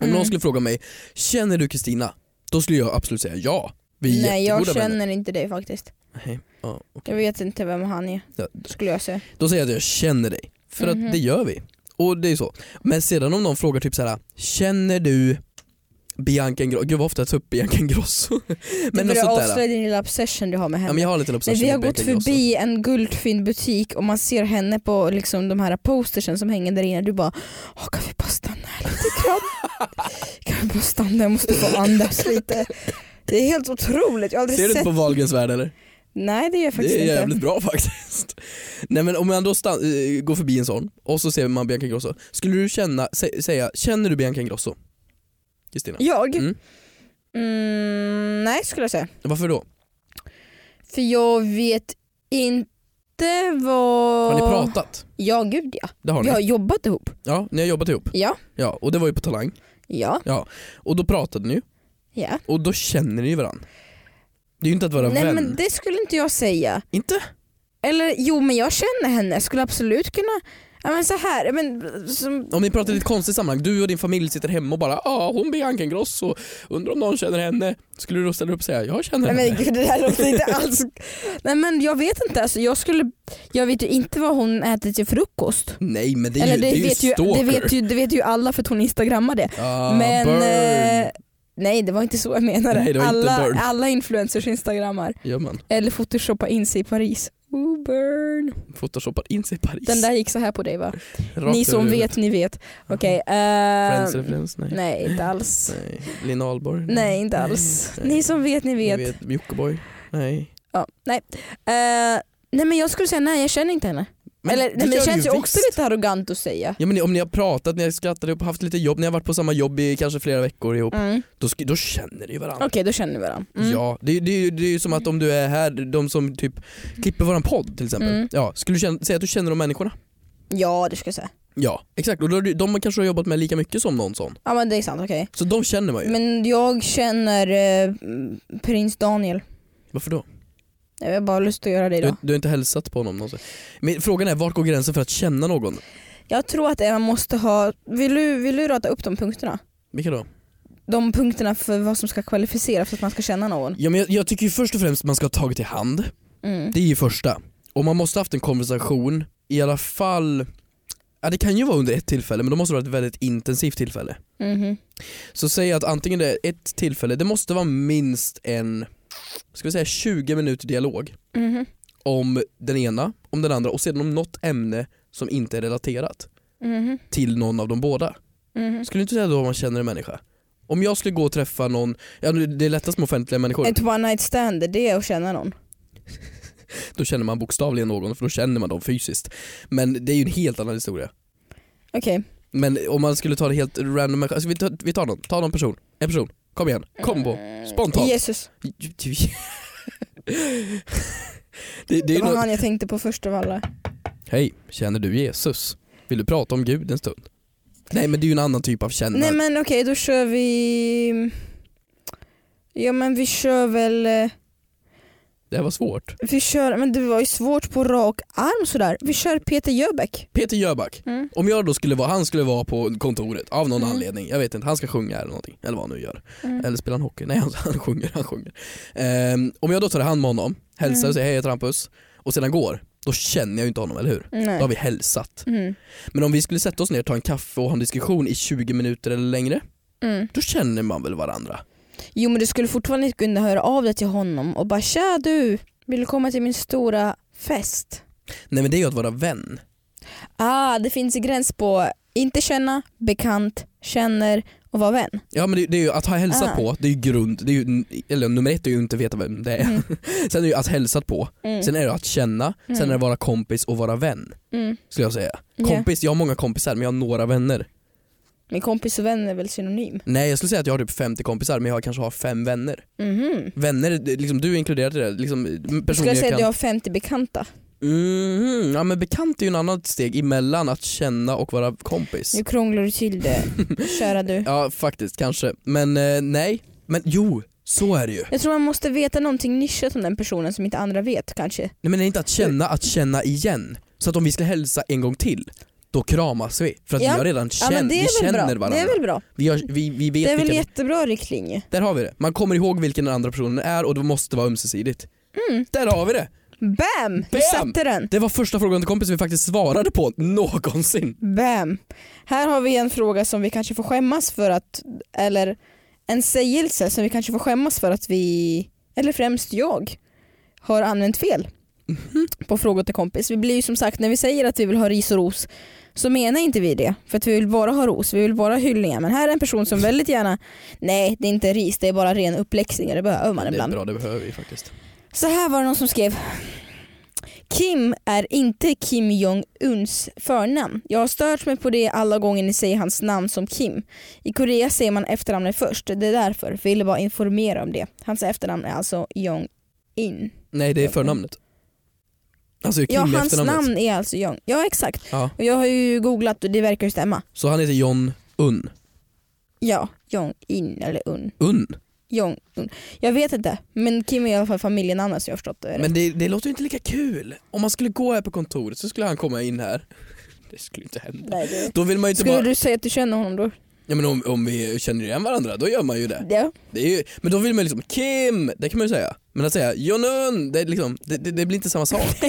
[SPEAKER 3] Mm.
[SPEAKER 2] någon skulle fråga mig, känner du Kristina? Då skulle jag absolut säga ja. Vi är
[SPEAKER 3] Nej jag
[SPEAKER 2] jättegoda
[SPEAKER 3] känner
[SPEAKER 2] vänner.
[SPEAKER 3] inte dig faktiskt.
[SPEAKER 2] Nej, ja, okej.
[SPEAKER 3] Jag vet inte vem han är
[SPEAKER 2] Ja,
[SPEAKER 3] skulle jag säga.
[SPEAKER 2] Då säger jag att jag känner dig, för
[SPEAKER 3] Mhm.
[SPEAKER 2] att det gör vi. Och det är så. Men sedan om någon frågar typ så här: känner du Bianca Ingrosso? Gud vad ofta jag tar upp Bianca Ingrosso. *laughs* men
[SPEAKER 3] du
[SPEAKER 2] något
[SPEAKER 3] börjar
[SPEAKER 2] sånt där.
[SPEAKER 3] avslöja din lilla obsession du har med
[SPEAKER 2] Ja,
[SPEAKER 3] henne.
[SPEAKER 2] men jag har lite
[SPEAKER 3] Nej,
[SPEAKER 2] obsession
[SPEAKER 3] vi har
[SPEAKER 2] Alltså, med
[SPEAKER 3] gått
[SPEAKER 2] Bianca Ingrosso.
[SPEAKER 3] förbi en guldfin butik och man ser henne på liksom, de här postersen som hänger där inne. Du bara, Åh, kan vi bara stanna här lite grann?
[SPEAKER 2] *laughs*
[SPEAKER 3] kan vi bara stanna? Jag måste få andas lite. Det är helt otroligt. Jag har aldrig
[SPEAKER 2] Ser du
[SPEAKER 3] sett...
[SPEAKER 2] inte på Wahlgrens värld eller?
[SPEAKER 3] Nej det gör jag faktiskt
[SPEAKER 2] det är
[SPEAKER 3] inte.
[SPEAKER 2] jävligt bra *laughs* faktiskt. Nej men om man då stan- eh, går förbi en sån och så ser man Bianca Ingrosso. Skulle du känna, sä- säga, känner du Bianca Ingrosso? Kristina?
[SPEAKER 3] Jag?
[SPEAKER 2] Mm.
[SPEAKER 3] Mm. nej skulle jag säga.
[SPEAKER 2] Varför då?
[SPEAKER 3] För jag vet inte vad...
[SPEAKER 2] Har ni pratat?
[SPEAKER 3] Ja gud ja.
[SPEAKER 2] Det har ni?
[SPEAKER 3] Vi har
[SPEAKER 2] Ja,
[SPEAKER 3] jobbat ihop.
[SPEAKER 2] ni har jobbat ihop.
[SPEAKER 3] Ja.
[SPEAKER 2] Ja, och det var ju på Talang.
[SPEAKER 3] Ja.
[SPEAKER 2] Och då pratade ni ju
[SPEAKER 3] ja.
[SPEAKER 2] och då känner ni ju varandra. Det är ju inte att vara
[SPEAKER 3] Nej
[SPEAKER 2] vän.
[SPEAKER 3] men det skulle inte jag säga.
[SPEAKER 2] Inte?
[SPEAKER 3] Eller jo men jag känner henne, skulle absolut kunna Ja men så här, ja, men, som,
[SPEAKER 2] Om ni pratar i ett konstigt sammanhang, du och din familj sitter hemma och bara ah, hon Bianca Ingrosso, undrar om någon känner henne. Skulle du då ställa upp och säga jag känner
[SPEAKER 3] nej
[SPEAKER 2] henne?
[SPEAKER 3] men gud det där
[SPEAKER 2] *laughs*
[SPEAKER 3] låter inte alls... Nej men jag vet inte, alltså, jag skulle... Jag vet ju inte vad hon äter till frukost.
[SPEAKER 2] Nej men det är ju,
[SPEAKER 3] Eller det,
[SPEAKER 2] det är ju
[SPEAKER 3] vet ju,
[SPEAKER 2] stalker.
[SPEAKER 3] det, vet ju, det vet ju alla för att hon instagrammar det.
[SPEAKER 2] Ah,
[SPEAKER 3] men...
[SPEAKER 2] burn.
[SPEAKER 3] eh, nej det var inte så jag menade.
[SPEAKER 2] Nej, det var inte
[SPEAKER 3] alla,
[SPEAKER 2] burn.
[SPEAKER 3] alla influencers instagrammar.
[SPEAKER 2] Gör man.
[SPEAKER 3] Eller photoshoppar in sig i Paris. Ooh, burn.
[SPEAKER 2] Photoshoppar in sig i Paris.
[SPEAKER 3] Den där gick så här på dig va?
[SPEAKER 2] Rakt
[SPEAKER 3] ni
[SPEAKER 2] över
[SPEAKER 3] som
[SPEAKER 2] huvudet.
[SPEAKER 3] vet, ni vet. Okej. eh,
[SPEAKER 2] Friends referens? Nej.
[SPEAKER 3] nej inte alls.
[SPEAKER 2] Nej. Lina Ahlborg?
[SPEAKER 3] Nej, inte alls.
[SPEAKER 2] Nej.
[SPEAKER 3] Ni som vet, ni
[SPEAKER 2] Ni
[SPEAKER 3] vet.
[SPEAKER 2] vet Jockiboi? Nej.
[SPEAKER 3] Ja, nej. Eh, nej men jag skulle säga nej, jag känner inte henne. Eller,
[SPEAKER 2] det
[SPEAKER 3] nej, men det
[SPEAKER 2] gör
[SPEAKER 3] känns ju
[SPEAKER 2] visst.
[SPEAKER 3] också lite arrogant att säga.
[SPEAKER 2] Ja, men ni- om ni har pratat, ni har skrattat ihop, haft lite jobb, ni har varit på samma jobb i kanske flera veckor ihop,
[SPEAKER 3] Mm.
[SPEAKER 2] då, sk- då känner ni varandra.
[SPEAKER 3] Okej, då känner vi varandra. Mm.
[SPEAKER 2] Ja, det, det, är ju- det är ju som att om du är här, de som typ klipper våran podd till exempel.
[SPEAKER 3] Mm.
[SPEAKER 2] Ja, skulle du känna, säga att du känner de människorna?
[SPEAKER 3] ja, det ska jag säga.
[SPEAKER 2] Ja, exakt. Och då, har du- de kanske har jobbat med lika mycket som någon sån.
[SPEAKER 3] Ja men det är sant, okej.
[SPEAKER 2] Så de känner man ju.
[SPEAKER 3] Men jag känner eh, prins Daniel.
[SPEAKER 2] Varför då?
[SPEAKER 3] Jag har bara lust att göra det
[SPEAKER 2] Du,
[SPEAKER 3] idag.
[SPEAKER 2] du har inte hälsat på honom någonsin. Men frågan är, vart går gränsen för att känna någon?
[SPEAKER 3] Jag tror att det är- man måste ha, vill du, vill du rata upp de punkterna?
[SPEAKER 2] Vilka då?
[SPEAKER 3] De punkterna för vad som ska kvalificera för att man ska känna någon.
[SPEAKER 2] Ja, men jag, jag tycker ju först och främst man ska ha tagit i hand.
[SPEAKER 3] Mm.
[SPEAKER 2] Det är ju första. Och man måste ha haft en konversation, i alla fall Ja, det kan ju vara under ett tillfälle men då måste det vara ett väldigt intensivt tillfälle.
[SPEAKER 3] Mhm.
[SPEAKER 2] Så säg att antingen det är ett tillfälle, det måste vara minst en, ska vi säga 20 minuter dialog
[SPEAKER 3] Mhm.
[SPEAKER 2] om den ena, om den andra och sedan om något ämne som inte är relaterat
[SPEAKER 3] Mhm.
[SPEAKER 2] till någon av de båda.
[SPEAKER 3] Mhm.
[SPEAKER 2] Skulle du inte säga då man känner en människa? Om jag skulle gå och träffa någon, ja nu, det är lättast med offentliga människor,
[SPEAKER 3] Ett one night stand, det är att känna någon.
[SPEAKER 2] då känner man bokstavligen någon för då känner man dem fysiskt. Men det är ju en helt annan historia.
[SPEAKER 3] Okej.
[SPEAKER 2] Men om man skulle ta det helt random, alltså vi, tar, vi tar någon, ta någon person, en person, kom igen, kom *laughs* på.
[SPEAKER 3] Mm.
[SPEAKER 2] Spontant.
[SPEAKER 3] Jesus,
[SPEAKER 2] Det, det är
[SPEAKER 3] det
[SPEAKER 2] ju
[SPEAKER 3] var
[SPEAKER 2] något...
[SPEAKER 3] han jag tänkte på först av alla.
[SPEAKER 2] Hej, känner du Jesus? Vill du prata om Gud en stund? Nej men det är ju en annan typ av känna.
[SPEAKER 3] Nej men okej, då kör vi... Ja men vi kör väl... eh,
[SPEAKER 2] Det här var svårt.
[SPEAKER 3] Vi kör, men det var ju svårt på rak arm sådär. Vi kör Peter Jöback.
[SPEAKER 2] Peter Jöback,
[SPEAKER 3] Mm.
[SPEAKER 2] om jag då skulle vara, han skulle vara på kontoret av någon
[SPEAKER 3] Mm.
[SPEAKER 2] anledning, jag vet inte, han ska sjunga eller någonting, eller vad han nu gör.
[SPEAKER 3] Mm.
[SPEAKER 2] Eller spelar han hockey? Nej han, han sjunger, han sjunger. Ehm, om jag då tar hand med honom, hälsar och
[SPEAKER 3] Mm.
[SPEAKER 2] säger hej jag heter Hampus, och sedan går, då känner jag ju inte honom, eller hur? Då
[SPEAKER 3] Nej.
[SPEAKER 2] har vi hälsat.
[SPEAKER 3] Mm.
[SPEAKER 2] Men om vi skulle sätta oss ner, ta en kaffe och ha en diskussion i 20 minuter eller längre,
[SPEAKER 3] Mm.
[SPEAKER 2] då känner man väl varandra?
[SPEAKER 3] Jo men du skulle fortfarande inte kunna höra av dig till honom och bara tja du, vill du komma till min stora fest?
[SPEAKER 2] Nej men det är ju att vara vän.
[SPEAKER 3] Ah, det finns en gräns på inte känna, bekant, känner och vara vän.
[SPEAKER 2] Ja men det, det är ju att ha hälsat
[SPEAKER 3] Ah.
[SPEAKER 2] på, det är ju grund, det är ju, eller nummer ett är ju inte veta vem det är.
[SPEAKER 3] Mm.
[SPEAKER 2] *laughs* Sen är det ju att hälsat på,
[SPEAKER 3] Mm.
[SPEAKER 2] sen är det att känna, sen
[SPEAKER 3] Mm.
[SPEAKER 2] är det vara kompis och vara vän.
[SPEAKER 3] Mm.
[SPEAKER 2] Skulle jag säga.
[SPEAKER 3] Ja.
[SPEAKER 2] Kompis, jag har många kompisar men jag har några vänner.
[SPEAKER 3] Men kompis och vän är väl synonym?
[SPEAKER 2] Nej jag skulle säga att jag har typ 50 kompisar men jag kanske har fem vänner.
[SPEAKER 3] Mhm.
[SPEAKER 2] Vänner, det- liksom, du är inkluderad i det. Liksom, personer
[SPEAKER 3] Jag skulle säga
[SPEAKER 2] kan...
[SPEAKER 3] att jag har 50 bekanta.
[SPEAKER 2] Mhm, ja men bekant är ju en annan steg emellan att känna och vara kompis.
[SPEAKER 3] Nu krånglar du
[SPEAKER 2] *laughs*
[SPEAKER 3] till det, kära du.
[SPEAKER 2] Ja faktiskt, kanske. Men eh, nej, men jo, så är det ju.
[SPEAKER 3] Jag tror man måste veta någonting nischat om den personen som inte andra vet kanske.
[SPEAKER 2] Nej men det är inte att känna, att känna igen. Så att om vi ska hälsa en gång till, då kramas vi. För att
[SPEAKER 3] Ja.
[SPEAKER 2] vi har redan
[SPEAKER 3] Ja,
[SPEAKER 2] känt,
[SPEAKER 3] men det
[SPEAKER 2] vi
[SPEAKER 3] är väl
[SPEAKER 2] känner
[SPEAKER 3] bra.
[SPEAKER 2] varandra.
[SPEAKER 3] Det är väl bra.
[SPEAKER 2] vi, har, vi, vi vet
[SPEAKER 3] Det är väl
[SPEAKER 2] vilken...
[SPEAKER 3] jättebra riktlinje.
[SPEAKER 2] Där har vi det. Man kommer ihåg vilken den andra personen är och det måste vara ömsesidigt. Där har vi det!
[SPEAKER 3] Bam!
[SPEAKER 2] Bam!
[SPEAKER 3] Du satte den.
[SPEAKER 2] Det var första frågan till kompis vi faktiskt svarade på *laughs* någonsin.
[SPEAKER 3] Bam! Här har vi en fråga som vi kanske får skämmas för att, eller en sägelse som vi kanske får skämmas för att vi, eller främst jag, har använt fel
[SPEAKER 2] Mhm.
[SPEAKER 3] på frågor till kompis. Vi blir ju som sagt, när vi säger att vi vill ha ris och ros så menar inte vi det. För att vi vill bara ha ros, vi vill bara ha hyllningar. Men här är en person som väldigt gärna, nej det är inte ris, det är bara ren uppläxning och det behöver man
[SPEAKER 2] det är
[SPEAKER 3] ibland.
[SPEAKER 2] bra, det behöver vi faktiskt.
[SPEAKER 3] Så här var det någon som skrev. Kim är inte Kim Jong-Uns förnamn. Jag har stört mig på det alla gånger ni säger hans namn som Kim. I Korea säger man efternamnet först. Det är därför. Ville bara informera om det. Hans efternamn är alltså Jong-In.
[SPEAKER 2] Nej det är förnamnet. Alltså Kim
[SPEAKER 3] Ja,
[SPEAKER 2] i
[SPEAKER 3] hans
[SPEAKER 2] efternamnet.
[SPEAKER 3] namn är alltså Jong. Ja, exakt.
[SPEAKER 2] Ja.
[SPEAKER 3] Och jag har ju googlat och det verkar ju stämma.
[SPEAKER 2] Så han heter John Unn.
[SPEAKER 3] Ja, Jong-In eller Un.
[SPEAKER 2] Unn?
[SPEAKER 3] Jong-Un. Jag vet inte, men Kim är i alla fall familjenamnet som jag har förstått det.
[SPEAKER 2] Men det, det låter ju inte lika kul. Om man skulle gå här på kontoret så skulle han komma in här. *laughs* Det skulle inte hända.
[SPEAKER 3] Nej, det...
[SPEAKER 2] Då vill man ju inte
[SPEAKER 3] Skulle
[SPEAKER 2] bara...
[SPEAKER 3] du säga att du känner honom då?
[SPEAKER 2] Ja, men om, om vi känner igen varandra, då gör man ju det.
[SPEAKER 3] Ja.
[SPEAKER 2] det är ju... Men då vill man ju liksom Kim, det kan man ju säga. Men att säga Jönun, det, är liksom, det, det, det blir inte samma
[SPEAKER 3] *laughs*
[SPEAKER 2] sak.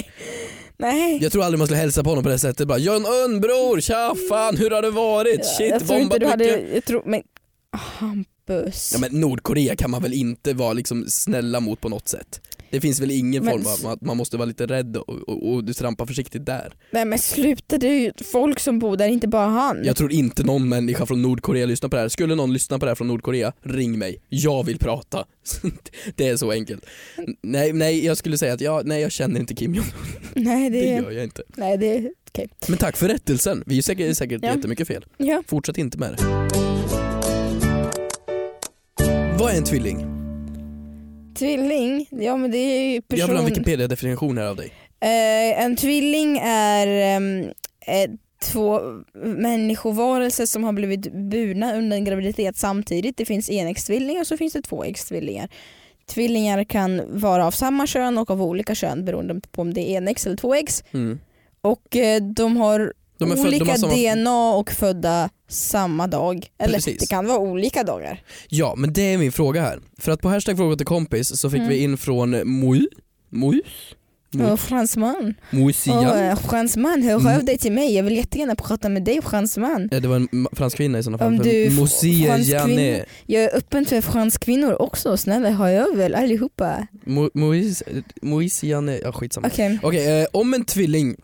[SPEAKER 3] Nej.
[SPEAKER 2] Jag tror aldrig man skulle hälsa på honom på det sättet. Bara Jönun bror, tja fan, hur har det varit? Shit,
[SPEAKER 3] jag tror inte
[SPEAKER 2] bombat
[SPEAKER 3] du hade,
[SPEAKER 2] mycket.
[SPEAKER 3] jag tror, men Hampus.
[SPEAKER 2] Ja, men Nordkorea kan man väl inte vara liksom snälla mot på något sätt? Det finns väl ingen
[SPEAKER 3] Men
[SPEAKER 2] form
[SPEAKER 3] s-
[SPEAKER 2] av att man måste vara lite rädd och, och, och du trampar försiktigt där.
[SPEAKER 3] Nej men sluta, det är ju folk som bor där, inte bara han.
[SPEAKER 2] Jag tror inte någon människa från Nordkorea lyssnar på det här. Skulle någon lyssna på det här från Nordkorea, ring mig. Jag vill prata. *laughs* Det är så enkelt. N- Nej, nej jag skulle säga att jag, nej, jag känner inte Kim Jong.
[SPEAKER 3] nej
[SPEAKER 2] Det
[SPEAKER 3] det,
[SPEAKER 2] gör jag inte.
[SPEAKER 3] nej det är okej.
[SPEAKER 2] Men tack för rättelsen. Vi är säkert, säkert
[SPEAKER 3] Ja.
[SPEAKER 2] jättemycket fel.
[SPEAKER 3] Ja.
[SPEAKER 2] Fortsätt inte med det. Vad är en tvilling?
[SPEAKER 3] Tvilling, ja men det är ju person.
[SPEAKER 2] Jag vill ha en Wikipedia-definition här av dig.
[SPEAKER 3] Eh, en tvilling är ehm, ett två människovarelser som har blivit burna under en graviditet samtidigt. Det finns enäggstvillingar och så finns det tvåäggstvillingar. Tvillingar kan vara av samma kön och av olika kön beroende på om det är enäggs eller tvåäggs.
[SPEAKER 2] Mm.
[SPEAKER 3] Och eh, de har
[SPEAKER 2] De är född- de
[SPEAKER 3] olika
[SPEAKER 2] har samma-
[SPEAKER 3] DNA och födda samma dag. Eller
[SPEAKER 2] Precis.
[SPEAKER 3] det kan vara olika dagar.
[SPEAKER 2] Ja, men det är min fråga här. För att på hashtag fråga till kompis så fick
[SPEAKER 3] Mm.
[SPEAKER 2] vi in från Moj, Moj, Mm.
[SPEAKER 3] Och fransman. Och,
[SPEAKER 2] Moisian.
[SPEAKER 3] eh, fransman, hör
[SPEAKER 2] Mm.
[SPEAKER 3] av dig till mig. Jag vill jättegärna prata med dig fransman.
[SPEAKER 2] Ja, Eh, det var en ma- fransk kvinna i sådana fall.
[SPEAKER 3] Om du är fr- fransk
[SPEAKER 2] Moisiane.
[SPEAKER 3] Jag är öppen för franskvinnor också. Snälla hör jag väl allihopa.
[SPEAKER 2] Moisiane, ja skitsamma. Okej,
[SPEAKER 3] Okej.
[SPEAKER 2] eh, om en tvilling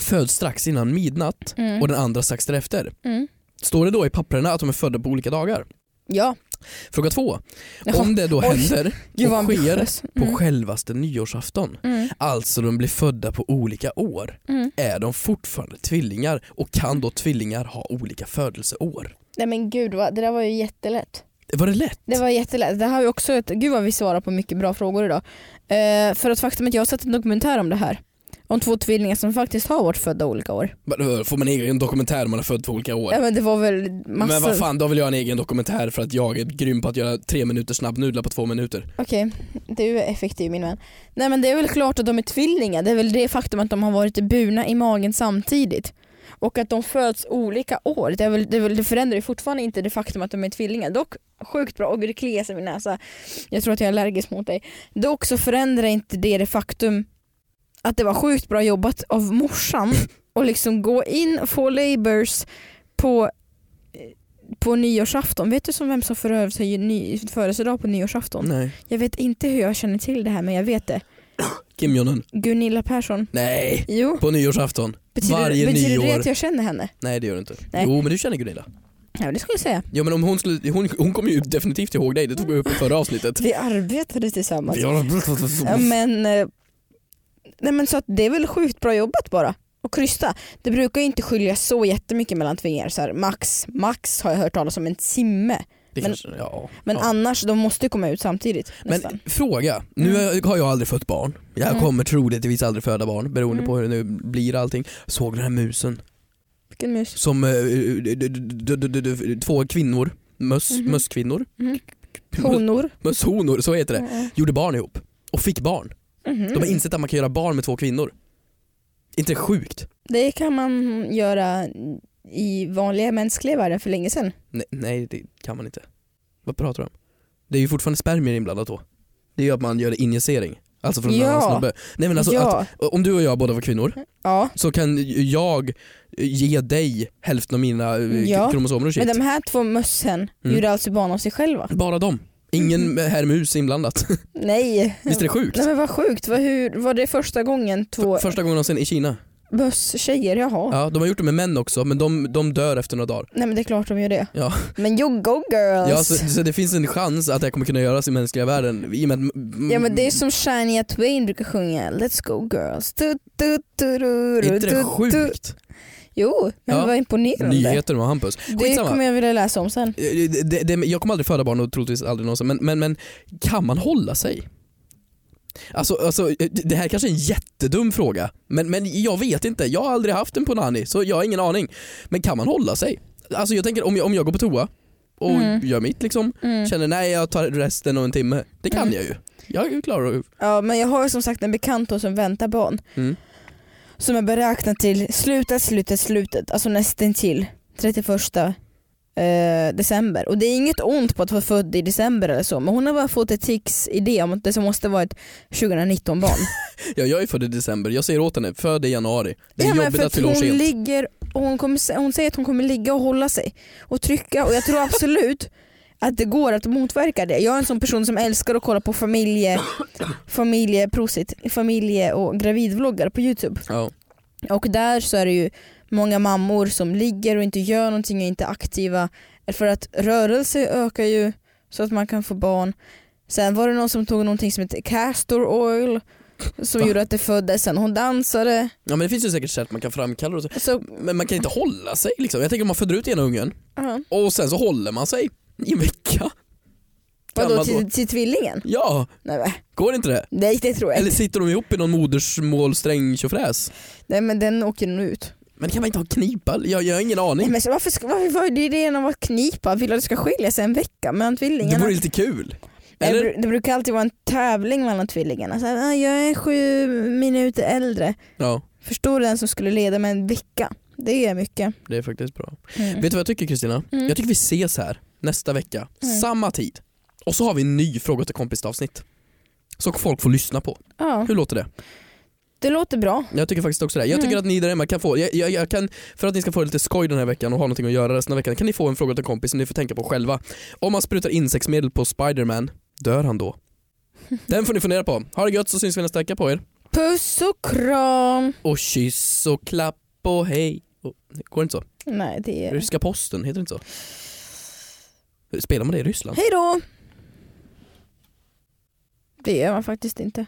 [SPEAKER 2] föds strax innan midnatt
[SPEAKER 3] Mm.
[SPEAKER 2] och den andra strax därefter.
[SPEAKER 3] Mm.
[SPEAKER 2] Står det då i papperna att de är födda på olika dagar?
[SPEAKER 3] Ja.
[SPEAKER 2] Fråga två.
[SPEAKER 3] Jaha.
[SPEAKER 2] Om det då
[SPEAKER 3] Oj.
[SPEAKER 2] händer
[SPEAKER 3] Gud vad
[SPEAKER 2] och sker
[SPEAKER 3] ambitiös.
[SPEAKER 2] på
[SPEAKER 3] Mm.
[SPEAKER 2] självaste nyårsafton,
[SPEAKER 3] Mm.
[SPEAKER 2] alltså de blir födda på olika år,
[SPEAKER 3] Mm.
[SPEAKER 2] är de fortfarande tvillingar och kan då tvillingar ha olika födelseår?
[SPEAKER 3] Nej men gud, vad, det där var ju jättelätt.
[SPEAKER 2] Var det lätt?
[SPEAKER 3] Det var jättelätt. Det här är också ett, gud vad vi svarar på mycket bra frågor idag. Eh, för att faktum är att jag har sett en dokumentär om det här. Om två tvillingar som faktiskt har varit födda olika år.
[SPEAKER 2] Vadå, Får man egen dokumentär om man är född på olika år?
[SPEAKER 3] Ja, men det var väl massor.
[SPEAKER 2] Men vad fan, då vill jag ha en egen dokumentär för att jag är grym på att göra tre minuter snabbnudlar på två minuter.
[SPEAKER 3] Okej, du är effektiv min vän. Nej men det är väl klart att de är tvillingar. Det är väl det faktum att de har varit burna i magen samtidigt. Och att de föds olika år. Det, är väl, det, är väl, det förändrar ju fortfarande inte det faktum att de är tvillingar. Dock sjukt bra. Och det kliar sig i min näsa. Jag tror att jag är allergisk mot dig. Dock så förändrar inte det det faktum att det var sjukt bra jobbat av morsan och liksom gå in och få labours på eh, på nyårsafton. Vet du som vem som förövade sig ny- födelsedag på nyårsafton?
[SPEAKER 2] Nej.
[SPEAKER 3] Jag vet inte hur jag känner till det här men jag vet det.
[SPEAKER 2] Kim Jong-Un.
[SPEAKER 3] Gunilla Persson.
[SPEAKER 2] Nej!
[SPEAKER 3] Jo,
[SPEAKER 2] På nyårsafton.
[SPEAKER 3] betyder,
[SPEAKER 2] Varje
[SPEAKER 3] betyder det
[SPEAKER 2] nyår.
[SPEAKER 3] att jag känner henne?
[SPEAKER 2] Nej det gör du inte.
[SPEAKER 3] Nej.
[SPEAKER 2] Jo men du känner Gunilla.
[SPEAKER 3] Ja, det skulle jag säga.
[SPEAKER 2] Ja men om hon, skulle, hon, hon kommer ju definitivt ihåg dig, det tog vi upp i förra avsnittet.
[SPEAKER 3] Vi arbetade tillsammans.
[SPEAKER 2] Vi har-
[SPEAKER 3] Ja, men, eh, nej, men så att det är väl sjukt bra jobbat bara. Och krysta. Det brukar ju inte skilja så jättemycket mellan tvillingar. Så här, max, max har jag hört talas om en timme.
[SPEAKER 2] Det
[SPEAKER 3] Men-
[SPEAKER 2] kanske, ja.
[SPEAKER 3] Men
[SPEAKER 2] ja.
[SPEAKER 3] annars, de måste ju komma ut samtidigt.
[SPEAKER 2] men
[SPEAKER 3] Nästan.
[SPEAKER 2] fråga, nu
[SPEAKER 3] Mm.
[SPEAKER 2] har jag aldrig fött barn. Jag
[SPEAKER 3] Mm.
[SPEAKER 2] kommer troligtvis aldrig föda barn beroende
[SPEAKER 3] Mm.
[SPEAKER 2] på hur det nu blir allting. Såg du den här musen?
[SPEAKER 3] Vilken mus.
[SPEAKER 2] Som eh, d- d- d- d- d- d- två kvinnor, möss,
[SPEAKER 3] Mhm.
[SPEAKER 2] mösskvinnor,
[SPEAKER 3] Mhm.
[SPEAKER 2] möss-
[SPEAKER 3] Honor.
[SPEAKER 2] mösshonor, så heter det,
[SPEAKER 3] Mm.
[SPEAKER 2] gjorde barn ihop och fick barn. De har
[SPEAKER 3] Mhm.
[SPEAKER 2] insett att man kan göra barn med två kvinnor. Inte sjukt?
[SPEAKER 3] Det kan man göra i vanliga mänskliga världen för länge sedan.
[SPEAKER 2] Nej, nej det kan man inte. Vad pratar du om? Det är ju fortfarande spermier inblandat då. Det är ju att man gör injicering. Alltså från en
[SPEAKER 3] Ja.
[SPEAKER 2] annan snubbe. Nej men alltså
[SPEAKER 3] ja.
[SPEAKER 2] att, om du och jag båda var kvinnor
[SPEAKER 3] ja.
[SPEAKER 2] så kan jag ge dig hälften av mina eh,
[SPEAKER 3] Ja.
[SPEAKER 2] kromosomer och shit.
[SPEAKER 3] Men de här två mössen
[SPEAKER 2] Mm.
[SPEAKER 3] gjorde alltså barn av sig själva?
[SPEAKER 2] Bara dem.
[SPEAKER 3] Mm.
[SPEAKER 2] Ingen herr mus
[SPEAKER 3] *laughs*
[SPEAKER 2] inblandat.
[SPEAKER 3] Nej.
[SPEAKER 2] Visst är det sjukt?
[SPEAKER 3] Nej men vad sjukt, var, hur, var det första gången två
[SPEAKER 2] F- Första gången någonsin i Kina.
[SPEAKER 3] mösstjejer? Jaha.
[SPEAKER 2] Ja, de har gjort det med män också men de, de dör efter några dagar.
[SPEAKER 3] Nej men det är klart de gör det.
[SPEAKER 2] Ja.
[SPEAKER 3] Men yo go girls!
[SPEAKER 2] Ja, alltså, så, så det finns en chans att det här kommer kunna göras i mänskliga världen i och med att... m-
[SPEAKER 3] Ja, men det är som Shania Twain brukar sjunga, Let's go girls. Du, du, du, du,
[SPEAKER 2] Är
[SPEAKER 3] du,
[SPEAKER 2] inte det
[SPEAKER 3] du, du.
[SPEAKER 2] sjukt?
[SPEAKER 3] Jo, men
[SPEAKER 2] Ja.
[SPEAKER 3] vad imponerande.
[SPEAKER 2] Nyheter med Hampus.
[SPEAKER 3] Det
[SPEAKER 2] Skitsamma.
[SPEAKER 3] kommer jag vilja läsa om sen.
[SPEAKER 2] Eh, Det, det, det, jag kommer aldrig föda barn och troligtvis aldrig någonsin men, men, men kan man hålla sig? Alltså, alltså eh, det det här kanske är en jättedum fråga men, men jag vet inte, jag har aldrig haft en punani så jag har ingen aning. Men kan man hålla sig? Alltså jag tänker om jag, om jag går på toa och
[SPEAKER 3] Mm.
[SPEAKER 2] gör mitt liksom,
[SPEAKER 3] Mm.
[SPEAKER 2] känner nej jag tar resten av en timme. Det kan
[SPEAKER 3] Mm.
[SPEAKER 2] jag ju. Jag är ju klar och,
[SPEAKER 3] Ja, men jag har ju som sagt en bekant då som väntar barn.
[SPEAKER 2] Mm.
[SPEAKER 3] Som är beräknad till slutet, slutet, slutet. Alltså nästan till 31 eh, december. Och det är inget ont på att vara född i december eller så. Men hon har bara fått ett tics idé om att det måste vara ett 2019 barn.
[SPEAKER 2] ja, jag är född i december, jag säger åt henne, föd i januari. *laughs* Det är
[SPEAKER 3] Ja, men
[SPEAKER 2] jobbigt
[SPEAKER 3] för
[SPEAKER 2] att fylla år
[SPEAKER 3] hon
[SPEAKER 2] sent.
[SPEAKER 3] ligger och hon, kommer, sä- hon säger att hon kommer ligga och hålla sig och trycka och
[SPEAKER 2] *laughs*
[SPEAKER 3] jag tror absolut att det går att motverka det. Jag är en sån person som älskar att kolla på familje, familje, prosit, familje och gravidvloggar på youtube.
[SPEAKER 2] Ja.
[SPEAKER 3] Och där så är det ju många mammor som ligger och inte gör någonting och inte är aktiva. För att rörelse ökar ju så att man kan få barn. Sen var det någon som tog någonting som hette castor oil som
[SPEAKER 2] Va?
[SPEAKER 3] gjorde att det föddes. Sen hon dansade.
[SPEAKER 2] ja men det finns ju säkert sätt man kan framkalla det.
[SPEAKER 3] Så,
[SPEAKER 2] Men man kan inte hålla sig liksom. Jag tänker om man föder ut ena ungen
[SPEAKER 3] ja.
[SPEAKER 2] Och sen så håller man sig i en vecka. Kan
[SPEAKER 3] Vadå
[SPEAKER 2] man då-
[SPEAKER 3] till, till tvillingen?
[SPEAKER 2] Ja,
[SPEAKER 3] Nej, men-
[SPEAKER 2] går inte det?
[SPEAKER 3] nej det tror jag
[SPEAKER 2] Eller
[SPEAKER 3] inte.
[SPEAKER 2] sitter de ihop i någon modersmålsträng tjofräs?
[SPEAKER 3] Nej men den åker nog ut.
[SPEAKER 2] Men kan man inte ha knipa? Jag, jag har ingen
[SPEAKER 3] Nej,
[SPEAKER 2] aning.
[SPEAKER 3] men så varför, ska- varför, vad är det idén om att knipa? Vill du att det ska skilja sig en vecka mellan
[SPEAKER 2] Det
[SPEAKER 3] tvillingarna?
[SPEAKER 2] vore lite kul.
[SPEAKER 3] Det,
[SPEAKER 2] Eller?
[SPEAKER 3] bru- det brukar alltid vara en tävling mellan tvillingarna. Så här, "Ah, jag är sju minuter äldre.
[SPEAKER 2] Ja,
[SPEAKER 3] Förstår du den som skulle leda med en vecka? Det är mycket.
[SPEAKER 2] det är faktiskt bra.
[SPEAKER 3] Mm.
[SPEAKER 2] Vet du vad jag tycker Kristina?
[SPEAKER 3] Mm.
[SPEAKER 2] Jag tycker vi ses här nästa vecka,
[SPEAKER 3] Mm.
[SPEAKER 2] samma tid. Och så har vi en ny fråga till kompis avsnitt. Som folk får lyssna på.
[SPEAKER 3] Ja,
[SPEAKER 2] Hur låter det?
[SPEAKER 3] det låter bra.
[SPEAKER 2] Jag tycker faktiskt också det. Jag tycker
[SPEAKER 3] Mm.
[SPEAKER 2] att ni där hemma kan få, jag, jag, jag kan, för att ni ska få lite skoj den här veckan och ha någonting att göra resten av veckan, kan ni få en fråga till kompis som ni får tänka på själva. Om man sprutar insektsmedel på Spiderman, dör han då? Den får ni fundera på. Ha det gött så syns vi nästa vecka på er.
[SPEAKER 3] Puss och kram.
[SPEAKER 2] Och kyss och klapp och hej. Och, går det inte så?
[SPEAKER 3] Nej, det är...
[SPEAKER 2] Ryska posten, heter det inte så? Spelar man det i Ryssland?
[SPEAKER 3] Hej då! Det gör man faktiskt inte.